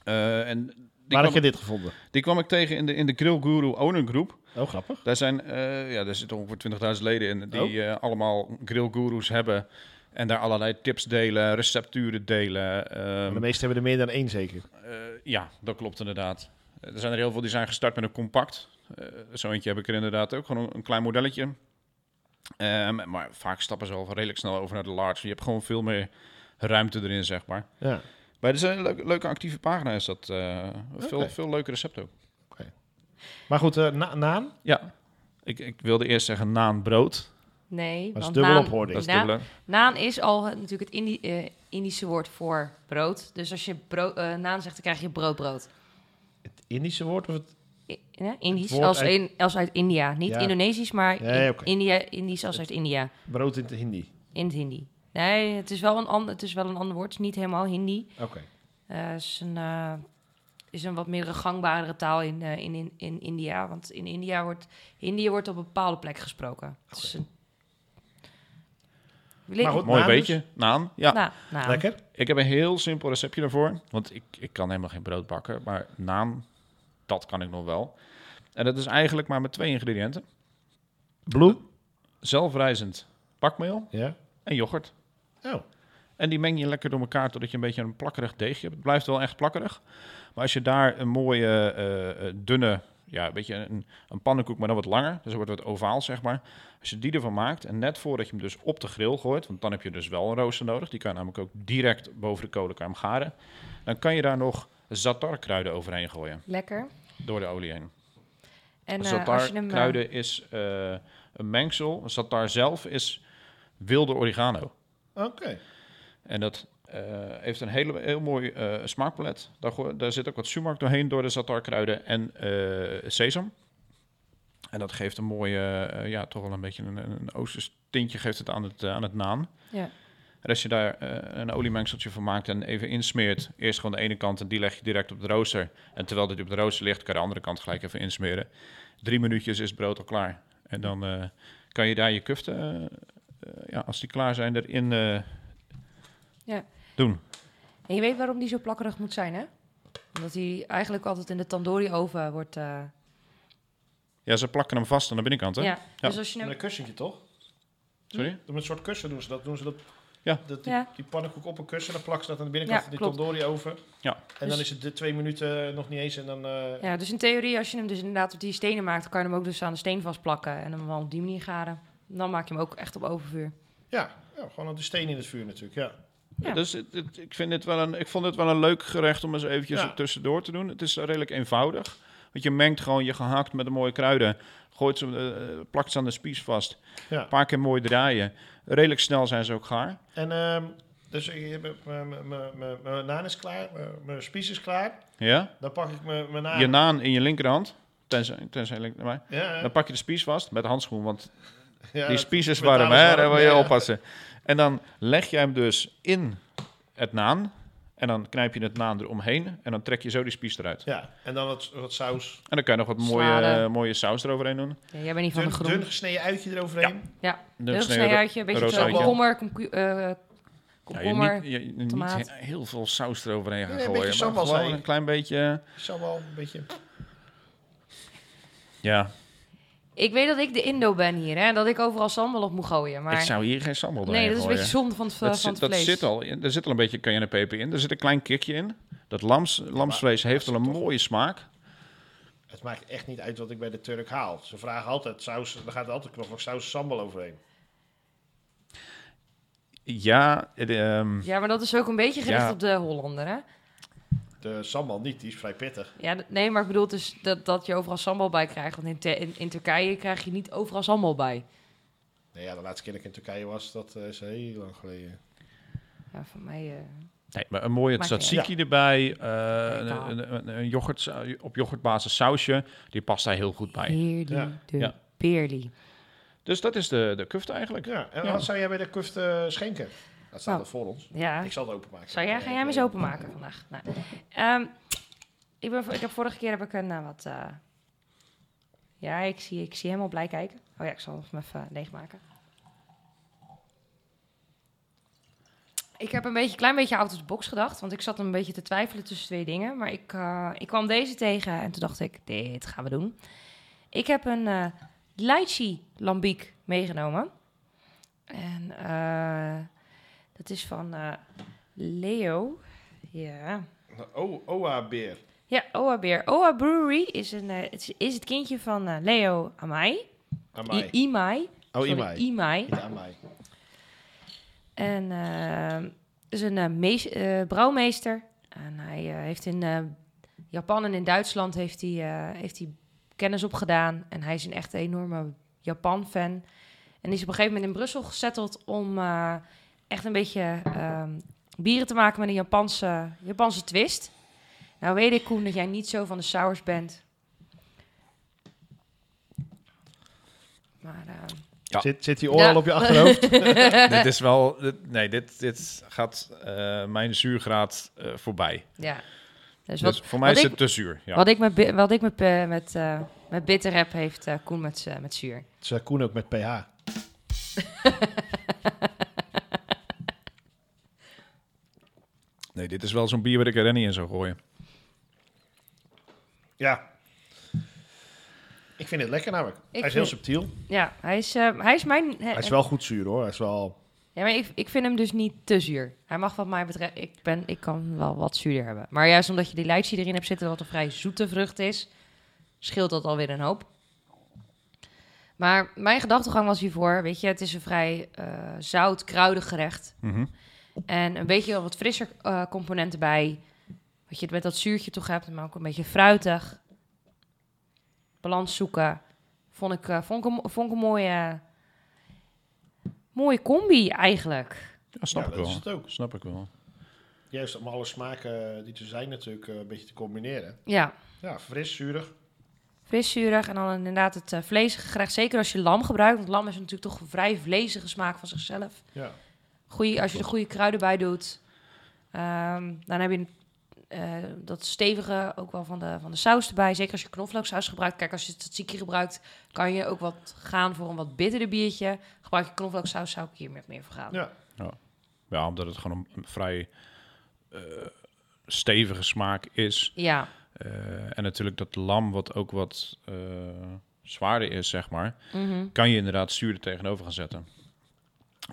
S2: Eh, en die
S1: Waar
S2: kwam
S1: heb je dit gevonden?
S2: die kwam ik tegen in de, in de Grill Guru Owner Group.
S1: Oh, grappig.
S2: Daar zijn, eh, ja, daar zitten ongeveer 20.000 leden in die
S1: Oh.
S2: eh, allemaal Grill Gurus hebben. En daar allerlei tips delen, recepturen delen. ehm,
S1: de meeste hebben er meer dan één zeker.
S2: eh, ja, dat klopt inderdaad. Eh, Er zijn er heel veel die zijn gestart met een compact. Eh zo eentje heb ik er inderdaad ook, gewoon een, een klein modelletje. Ehm, maar vaak stappen ze al redelijk snel over naar de large. Je hebt gewoon veel meer ruimte erin, zeg maar.
S1: Ja.
S2: Maar het is een leuke, leuke actieve pagina is dat. eh, veel,
S1: Oké.
S2: veel leuke recepten ook.
S1: Maar goed, eh, na- naan?
S2: Ja, ik, ik wilde eerst zeggen naan brood.
S3: Nee,
S1: Dat is
S3: want
S1: dubbel
S3: naan-
S1: ophoording.
S2: Dat is
S3: naan-
S2: dubbele.
S3: Naan is al het- natuurlijk het Indi- eh, Indische woord voor brood. Dus als je brood, eh, naan zegt, dan krijg je broodbrood.
S1: Het Indische woord of het...
S3: I- eh, Indisch
S1: woord
S3: als,
S1: uit-
S3: in- als uit India. Niet
S1: Ja.
S3: Indonesisch, maar
S1: Ja, ja,
S3: in-
S1: oké.
S3: India, Indisch als uit India.
S1: Brood in het Hindi.
S3: In het Hindi. Nee, het is wel een, ander, het is wel een ander woord. Het is niet helemaal Hindi.
S1: Oké.
S3: Eh, Het is, een, eh, is een wat meer gangbaardere taal in, eh, in, in, in India. Want in India wordt, Hindi wordt op een bepaalde plek gesproken. Het is een...
S1: Maar goed,
S2: Mooi
S1: naan dus?
S2: beetje. Naan. Ja,
S3: Nou, nou.
S1: Lekker?
S2: ik heb een heel simpel receptje daarvoor. Want ik, ik kan helemaal geen brood bakken. Maar naan, dat kan ik nog wel. En dat is eigenlijk maar met twee ingrediënten.
S1: Bloem?
S2: Zelfrijzend bakmeel
S1: Ja.
S2: en yoghurt.
S1: Oh,
S2: En die meng je lekker door elkaar totdat je een beetje een plakkerig deegje hebt. Het blijft wel echt plakkerig. Maar als je daar een mooie, eh, eh, dunne, ja, een beetje een, een pannenkoek, maar dan wat langer. Dus het wordt wat ovaal, zeg maar. Als je die ervan maakt en net voordat je hem dus op de grill gooit, want dan heb je dus wel een rooster nodig. Die kan je namelijk ook direct boven de kolenkamer garen. Dan kan je daar nog zatarkruiden overheen gooien,
S3: Lekker.
S2: door de olie heen.
S3: En eh, als je hem... eh,
S2: Zatarkruiden is eh, een mengsel. Zatar zelf is wilde oregano.
S1: oké.
S2: En dat eh, heeft een hele, heel mooi eh, smaakpalet. Daar, go- daar zit ook wat sumac doorheen door de zatarkruiden en eh, sesam. En dat geeft een mooie, eh, ja, toch wel een beetje een, een oosters tintje geeft het aan het, eh, aan het naan.
S3: Ja.
S2: En als je daar eh, een oliemengseltje van maakt en even insmeert, eerst gewoon de ene kant en die leg je direct op de rooster. En terwijl dit op de rooster ligt, kan je de andere kant gelijk even insmeren. Drie minuutjes is het brood al klaar. En dan eh, kan je daar je kuften, eh, eh, ja, als die klaar zijn, erin eh,
S3: Ja.
S2: doen.
S3: En je weet waarom die zo plakkerig moet zijn, hè? Omdat hij eigenlijk altijd in de tandoori-oven wordt... eh,
S2: Ja, ze plakken hem vast aan de binnenkant, hè?
S3: ja. dus als je
S1: Met een
S3: hem...
S1: kussentje, toch?
S2: Sorry?
S1: Met een soort kussen doen ze dat. Doen ze dat,
S2: Ja.
S1: dat die,
S3: Ja.
S1: die pannenkoek op een kussen, dan plakken ze dat aan de binnenkant
S3: Ja,
S1: van die
S3: klopt.
S1: tandoori over.
S2: Ja.
S1: En dan
S3: Dus-
S1: is het de twee minuten nog niet eens en dan... eh,
S3: Ja, dus in theorie, als je hem dus inderdaad op die stenen maakt... dan kan je hem ook dus aan de steen vastplakken en hem dan op die manier garen. Dan maak je hem ook echt op ovenvuur.
S1: ja. ja, gewoon de steen in het vuur natuurlijk, ja.
S3: Ja.
S2: Dus het- het- ik, vind dit wel een, ik vond het wel een leuk gerecht om eens eventjes
S1: Ja.
S2: er tussendoor te doen. Het is redelijk eenvoudig. Want je mengt gewoon je gehakt met de mooie kruiden. Gooit ze, eh, plakt ze aan de spies vast.
S1: Ja.
S2: Een paar keer mooi draaien. Redelijk snel zijn ze ook gaar.
S1: En ehm, dus ik heb- m- m- m- m- mijn naan is klaar, m- mijn spies is klaar.
S2: Ja?
S1: Dan pak ik mijn mijn naan.
S2: Je naan in je linkerhand. Tenzij, tenzij linker, maar.
S1: Ja,
S2: Dan pak je de spies vast met de handschoen. Want
S1: ja,
S2: die
S1: dat-
S2: spies is
S1: met
S2: warm,
S1: naan is
S2: hè? Daar
S1: warm,
S2: wil je
S1: ja.
S2: oppassen. En dan leg je hem dus in het naan. En dan knijp je het naan eromheen. En dan trek je zo die spies eruit.
S1: Ja, en dan wat, wat saus.
S2: En dan kan je nog wat mooie,
S3: Salade.
S2: eh, mooie saus eroverheen doen.
S3: Ja, jij bent niet van
S1: Dun,
S3: de groen.
S1: dun gesneden uitje eroverheen.
S2: Dan
S3: Heel
S2: snij je
S3: snel uitje, een beetje
S2: roos
S3: zo
S2: uitje.
S3: komkommer, komku- eh,
S2: Ja, je
S3: komkommer.
S2: niet, je- je niet
S3: tomaat.
S2: he- heel veel saus eroverheen gaan
S1: Nee, een
S2: gooien.
S1: beetje
S2: maar
S1: sambal,
S2: gewoon
S1: zei ik.
S2: een klein beetje.
S1: Is allemaal een beetje...
S2: Ja,
S3: Ik weet dat ik de Indo ben hier, hè? Dat ik overal sambal op moet gooien, maar...
S2: ik zou hier geen sambal doorheen
S3: Nee, dat is een
S2: gooien.
S3: beetje zonde van het, eh,
S2: dat
S3: van
S2: zit,
S3: het
S2: dat
S3: vlees.
S2: zit al, in- er zit al een beetje cayenne peper in. Er zit een klein kikje in. Dat lams, lamsvlees heeft al een mooie smaak.
S1: Het maakt echt niet uit wat ik bij de Turk haal. Ze vragen altijd saus, er gaat altijd knoflook saus sambal overheen.
S2: Ja, het, ehm,
S3: Ja, maar dat is ook een beetje gericht
S2: Ja.
S3: op de Hollander, hè?
S1: De sambal niet, die is vrij pittig.
S3: Ja, d- nee, maar ik bedoel dus dat, dat je overal sambal bij krijgt. Want in, Te- in, in Turkije krijg je niet overal sambal bij.
S1: Nou Nee, ja, de laatste keer dat ik in Turkije was, dat eh, is heel lang geleden.
S3: Ja, van mij... eh,
S2: Nee, maar een mooie
S3: Maakt niet
S2: tzatziki erbij. eh,
S3: Lekker.
S2: een, een, een yoghurt, sa- op yoghurtbasis sausje. Die past daar heel goed bij.
S3: Heerly
S1: Ja.
S3: de
S2: Ja.
S3: Beerly.
S2: Dus dat is de, de kuft eigenlijk.
S1: Ja, en
S2: Ja.
S1: wat zou jij bij de kuft eh, schenken? Dat staat
S3: Nou.
S1: er voor ons.
S3: Ja.
S1: Ik zal het openmaken. Eh,
S3: Zou jij, ga jij hem eens openmaken vandaag? Nou, ehm, ik, ben, ik heb vorige keer heb ik een eh, wat. eh, ja, ik zie, ik zie hem al blij kijken. Oh ja, ik zal hem even leegmaken. Ik heb een beetje, klein beetje out of the box gedacht, want ik zat een beetje te twijfelen tussen twee dingen. Maar ik, eh, ik kwam deze tegen en toen dacht ik, dit gaan we doen. Ik heb een eh lychee lambiek meegenomen. En eh, dat is van eh, Leo. Ja.
S1: Oh, Oa-beer.
S3: Ja, Oa Beer. Oa Brewery is, een, eh, het, is- is het kindje van eh, Leo Amai.
S1: Aan
S3: I-
S1: mij.
S3: Imai.
S1: Oh,
S3: Sorry,
S1: Imai.
S3: Imai.
S1: Ja, aan mij.
S3: En eh, het is een eh, mees- eh, brouwmeester. En hij eh, heeft in eh, Japan en in Duitsland heeft hij, eh, heeft hij kennis opgedaan. En hij is een echt enorme Japan-fan. En is op een gegeven moment in Brussel gezetteld om eh, echt een beetje ehm, bieren te maken met een Japanse, Japanse twist. Nou weet ik, Koen, dat jij niet zo van de sours bent. Maar eh,
S2: Ja.
S1: Zit, zit die
S3: Ja.
S1: oor al op je achterhoofd?
S2: dit is wel... dit- nee, dit, dit gaat eh, mijn zuurgraad eh, voorbij.
S3: ja, dus
S2: Dus,
S3: wat,
S2: voor mij
S3: wat
S2: is
S3: ik-
S2: het te zuur. Ja.
S3: Wat ik met, bi- wat ik met, eh, met, eh, met bitter heb, heeft eh, Koen met, eh, met zuur.
S1: Het is Koen ook met PH.
S2: Nee, dit is wel zo'n bier waar ik er niet in zou gooien.
S1: Ja. Ik vind het lekker namelijk.
S3: Ik
S1: hij is heel
S3: vind-
S1: subtiel.
S3: Ja, hij is, eh, hij is mijn...
S1: Hij is wel goed zuur hoor. Hij is wel...
S3: Ja, maar ik, ik vind hem dus niet te zuur. Hij mag wat mij betreft... Ik, ben, ik kan wel wat zuurder hebben. Maar juist omdat je die lychee erin hebt zitten, wat een vrij zoete vrucht is, scheelt dat alweer een hoop. Maar mijn gedachtegang was hiervoor, weet je, het is een vrij eh, zout, kruidig gerecht.
S2: Mhm.
S3: En een beetje wat frisser eh, componenten bij. Wat je met dat zuurtje toch hebt, maar ook een beetje fruitig. Balans zoeken. Vond ik, eh, vond ik, een, vond ik een mooie, mooie combi eigenlijk.
S2: Ja, snap
S1: Ja,
S2: ik
S1: dat
S2: wel.
S1: is het ook.
S2: Snap ik wel.
S1: Juist om alle smaken die er zijn natuurlijk eh, een beetje te combineren.
S3: Ja,
S1: Ja, fris, zuurig.
S3: fris zuurig en dan inderdaad het eh, vleesige gerecht. Zeker als je lam gebruikt, want lam is natuurlijk toch een vrij vleesige smaak van zichzelf.
S1: Ja.
S3: Goeie, als je de goede kruiden bij doet, ehm, dan heb je eh, dat stevige ook wel van de, van de saus erbij. Zeker als je knoflooksaus gebruikt. Kijk, als je tzatziki gebruikt, kan je ook wat gaan voor een wat bitterder biertje. Gebruik je knoflooksaus, zou ik hier met meer voor gaan.
S1: Ja.
S2: Ja, omdat het gewoon een, een vrij eh, stevige smaak is.
S3: Ja,
S2: Eh, en natuurlijk dat lam, wat ook wat eh, zwaarder is, zeg maar,
S3: mhm.
S2: kan je inderdaad zuur er tegenover gaan zetten.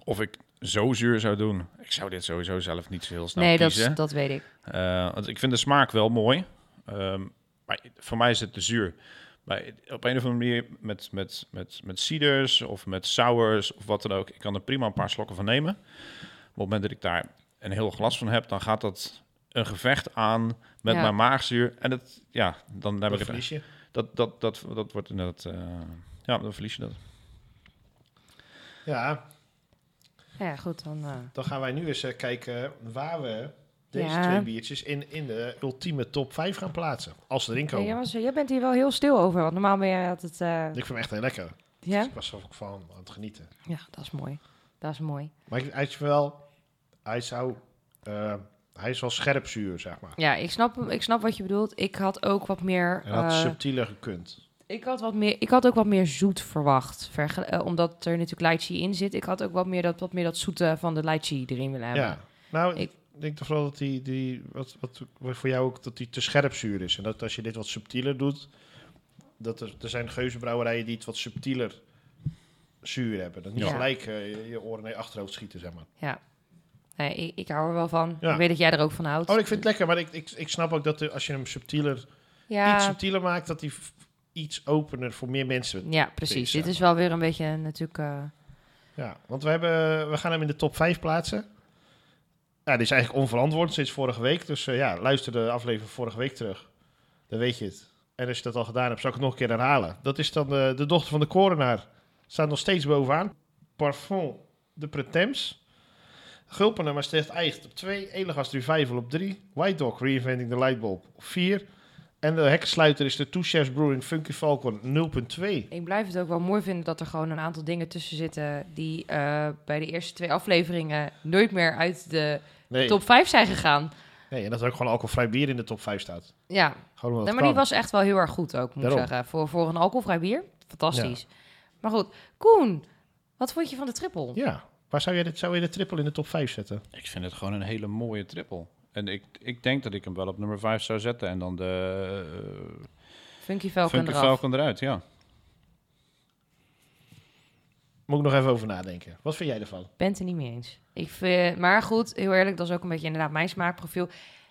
S2: Of ik zo zuur zou doen, ik zou dit sowieso zelf niet zo heel snel
S3: nee, dat,
S2: kiezen.
S3: is- dat weet ik.
S2: Eh, want ik vind de smaak wel mooi. Ehm, maar voor mij is het te zuur. Maar op een of andere manier met, met, met, met ciders of met sours of wat dan ook. Ik kan er prima een paar slokken van nemen. Maar op het moment dat ik daar een heel glas van heb, dan gaat dat een gevecht aan met
S3: Ja.
S2: mijn maagzuur. En dat, ja, dan heb
S1: Dat
S2: ik het.
S1: verlies je.
S2: Dat, dat, dat, dat wordt inderdaad. eh, ja, dan verlies je dat.
S1: Ja,
S3: Nou Ja, goed, dan... eh,
S1: dan gaan wij nu eens eh, kijken waar we deze
S3: Ja.
S1: twee biertjes in, in de ultieme top 5 gaan plaatsen. Als ze erin komen.
S3: jij, was- jij bent hier wel heel stil over, want normaal ben jij altijd... eh,
S1: Ik vind hem echt heel lekker. Dus
S3: ja?
S1: ik was er ook van aan het genieten.
S3: ja, dat is mooi. Dat is mooi.
S1: Maar ik- hij is wel... Hij zou... eh, hij is wel scherp zuur, zeg maar.
S3: Ja, ik snap, hem- ik snap wat je bedoelt. Ik had ook wat meer...
S1: En had
S3: eh,
S1: subtieler gekund.
S3: Ik had, wat meer, ik had ook wat meer zoet verwacht. Verge- eh, omdat er natuurlijk lychee in zit. Ik had ook wat meer dat, wat meer dat zoete van de lychee erin willen
S1: Ja.
S3: hebben.
S1: Nou,
S3: ik-
S1: ik denk toch vooral dat die... die wat, wat, wat voor jou ook dat die te scherp zuur is. En dat als je dit wat subtieler doet... Dat er, er zijn geuzenbrouwerijen die het wat subtieler zuur hebben. Dat niet
S3: Ja.
S1: gelijk eh, je, je oren naar je achterhoofd schieten, zeg maar.
S3: Nee, ik, ik hou er wel van.
S1: Ja.
S3: Ik weet dat jij er ook van houdt.
S1: Oh, ik vind het lekker, maar ik, ik, ik snap ook dat de- als je hem subtieler,
S3: ja,
S1: iets subtieler maakt, dat hij f- iets opener voor meer mensen.
S3: ja, precies.
S1: Precies,
S3: Dit
S1: ja.
S3: is wel weer een beetje eh, natuurlijk... eh,
S1: Ja, want we, hebben, we gaan hem in de top 5 plaatsen. Ja, dit is eigenlijk onverantwoord sinds vorige week. Dus eh, ja, luister de aflevering vorige week terug. Dan weet je het. En als je dat al gedaan hebt, zal ik het nog een keer herhalen. Dat is dan eh, de, de dochter van de korenaar. Staat nog steeds bovenaan. Parfum de Pretemps. Gulpen maar Maastricht Eicht op 2. Elegast Revival op 3. White Dog Reinventing the Lightbulb op 4. En de hekkensluiter is de Two Chefs Brewing Funky Falcon 0.2.
S3: Ik blijf het ook wel mooi vinden dat er gewoon een aantal dingen tussen zitten die eh, bij de eerste twee afleveringen nooit meer uit de
S1: Nee.
S3: top 5 zijn gegaan.
S1: nee, en dat er ook gewoon alcoholvrij bier in de top 5 staat.
S3: Ja,
S1: Gewoon omdat
S3: nee,
S1: het
S3: maar
S1: kan.
S3: die was echt wel heel erg goed ook, moet ik
S1: Daarom.
S3: zeggen. Voor, voor een alcoholvrij bier, fantastisch. Maar goed, Koen, wat vond je van de triple?
S1: Ja, waar zou je, dit, zou je de triple in de top 5 zetten?
S2: Ik vind het gewoon een hele mooie triple. En ik, ik denk dat ik hem wel op nummer 5 zou zetten. En dan de
S3: Funky
S2: uh,
S3: Falcon
S2: Funky
S3: eraf.
S2: Falcon eruit, ja.
S1: Moet ik nog even over nadenken. Wat vind jij ervan?
S3: ben het er niet mee eens. Ik vind, maar goed, heel eerlijk, dat is ook een beetje inderdaad mijn smaakprofiel.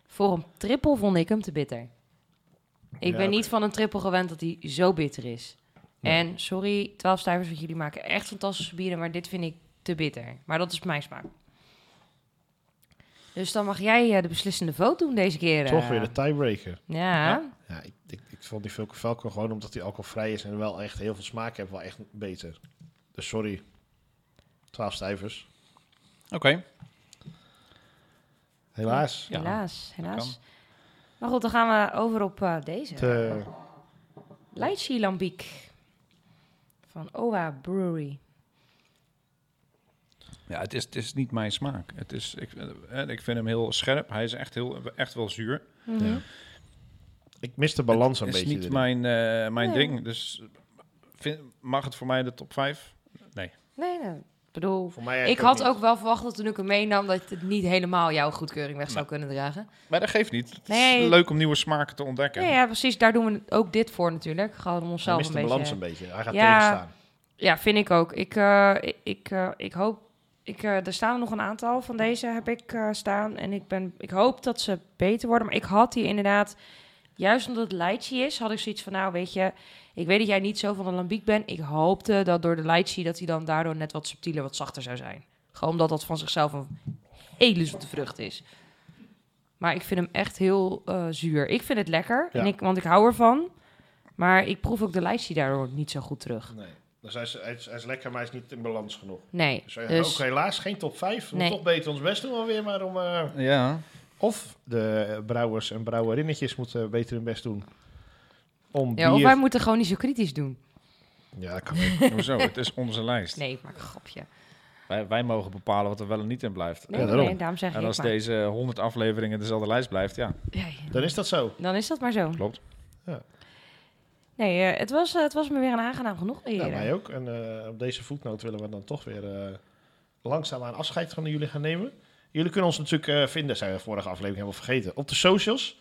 S3: Voor een triple vond ik hem te bitter. Ik
S1: Ja,
S3: ben
S1: oké.
S3: niet van een triple gewend dat hij zo bitter is. En sorry, 12 stuivers, want jullie maken echt fantastische bieren, maar dit vind ik te bitter. Maar dat is mijn smaak. Dus dan mag jij eh, de beslissende vote doen deze keer.
S1: Toch
S3: eh.
S1: weer de tiebreaker.
S3: Ja,
S2: Ja.
S1: Ja, ik, ik, ik vond die Vulcan Falcon gewoon omdat die alcoholvrij is en wel echt heel veel smaak heeft, wel echt beter. Dus sorry. 12 stijvers.
S2: Oké.
S1: Helaas.
S2: Ja,
S3: helaas, helaas.
S2: kan.
S3: Maar goed, dan gaan we over op eh, deze.
S1: Het, eh,
S3: Lychee Lambiek van Owa Brewery.
S2: Ja, het is, het is niet mijn smaak. Het is, ik, eh, ik vind hem heel scherp. Hij is echt, heel, echt wel zuur.
S1: ja. Ik mis de balans een
S2: Het is
S1: beetje.
S2: niet
S1: erin.
S2: mijn, eh, mijn
S3: Nee.
S2: ding. Dus vind- mag het voor mij de top 5?
S3: Nee, nee. Ik bedoel,
S1: Voor mij
S3: ik
S1: eigenlijk
S3: had
S1: niet.
S3: ook wel verwacht dat toen ik hem meenam dat het niet helemaal jouw goedkeuring weg zou kunnen dragen.
S2: Maar dat geeft niet. Het
S3: Nee.
S2: is leuk om nieuwe smaken te ontdekken.
S3: Nee, ja, precies. Daar doen we ook dit voor natuurlijk. Gewoon om
S1: Hij
S3: onszelf
S1: mist
S3: een
S1: de balans
S3: beetje.
S1: een beetje. Hij gaat
S3: Ja.
S1: tegenstaan.
S3: Ja, vind ik ook. Ik, eh, ik, eh, ik hoop. Ik, eh, er staan nog een aantal van deze heb ik eh, staan. En ik, ben, ik hoop dat ze beter worden. Maar ik had die inderdaad. Juist omdat het lychee is, had ik zoiets van: Nou, weet je, ik weet dat jij niet zo van de lambiek bent. Ik hoopte dat door de lychee dat hij dan daardoor net wat subtieler, wat zachter zou zijn. Gewoon omdat dat van zichzelf een hele zoete vrucht is. Maar ik vind hem echt heel eh, zuur. Ik vind het lekker,
S1: Ja.
S3: en ik, want ik hou ervan. Maar ik proef ook de lychee daardoor niet zo goed terug.
S1: Nee. Dus hij is, hij, is, hij is lekker, maar hij is niet in balans genoeg.
S3: Nee,
S1: Dus, wij
S3: dus-
S1: ook helaas geen top 5. We
S3: Nee.
S1: moeten toch beter ons best doen alweer, maar om... eh,
S2: Ja.
S1: Of de eh, brouwers en brouwerinnetjes moeten beter hun best doen. Om
S3: Ja,
S1: bier...
S3: of wij moeten gewoon niet zo kritisch doen.
S1: Ja, dat kan ook.
S2: Hoezo? Het is onze lijst.
S3: Nee, ik maak een grapje.
S2: Wij, wij mogen bepalen wat er wel en niet in blijft.
S3: Nee,
S1: Ja,
S3: nee,
S1: daarom.
S3: nee, daarom zeg
S2: En
S3: ik
S2: als
S3: maar.
S2: deze 100 afleveringen dezelfde lijst blijft, ja.
S3: Ja, ja.
S1: Dan is dat zo.
S3: Dan is dat maar zo.
S2: Klopt.
S1: Ja.
S3: Nee, eh, het, was, eh, het was me weer een aangenaam genoeg.
S1: Ja,
S3: eerder.
S1: mij Nou, ook. En eh, op deze voetnoot willen we dan toch weer eh, langzaamaan afscheid van jullie gaan nemen. Jullie kunnen ons natuurlijk eh, vinden, zijn we vorige aflevering helemaal vergeten, op de socials.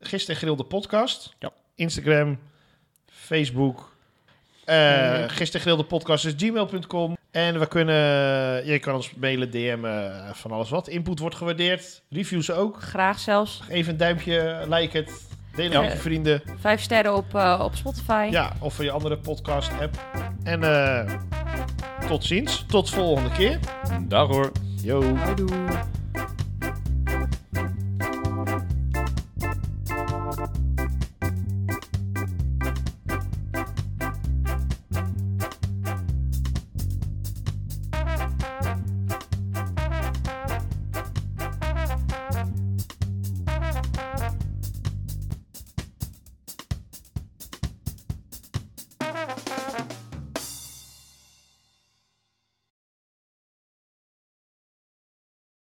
S1: Gisteren grilde podcast.
S2: Ja.
S1: Instagram, Facebook. Eh Gisteren grilde podcast is gmail.com. En we kunnen, eh, je kan ons mailen, DM'en, van alles wat. Input wordt gewaardeerd. Reviews ook.
S3: Graag zelfs.
S1: Even een duimpje, like het. Deel het
S3: Ja.
S1: met je vrienden.
S3: Vijf sterren op, eh, op Spotify.
S1: Ja, of van je andere podcast app. En eh, tot ziens. Tot volgende keer.
S2: Dag hoor.
S1: Yo.
S3: Houdoe.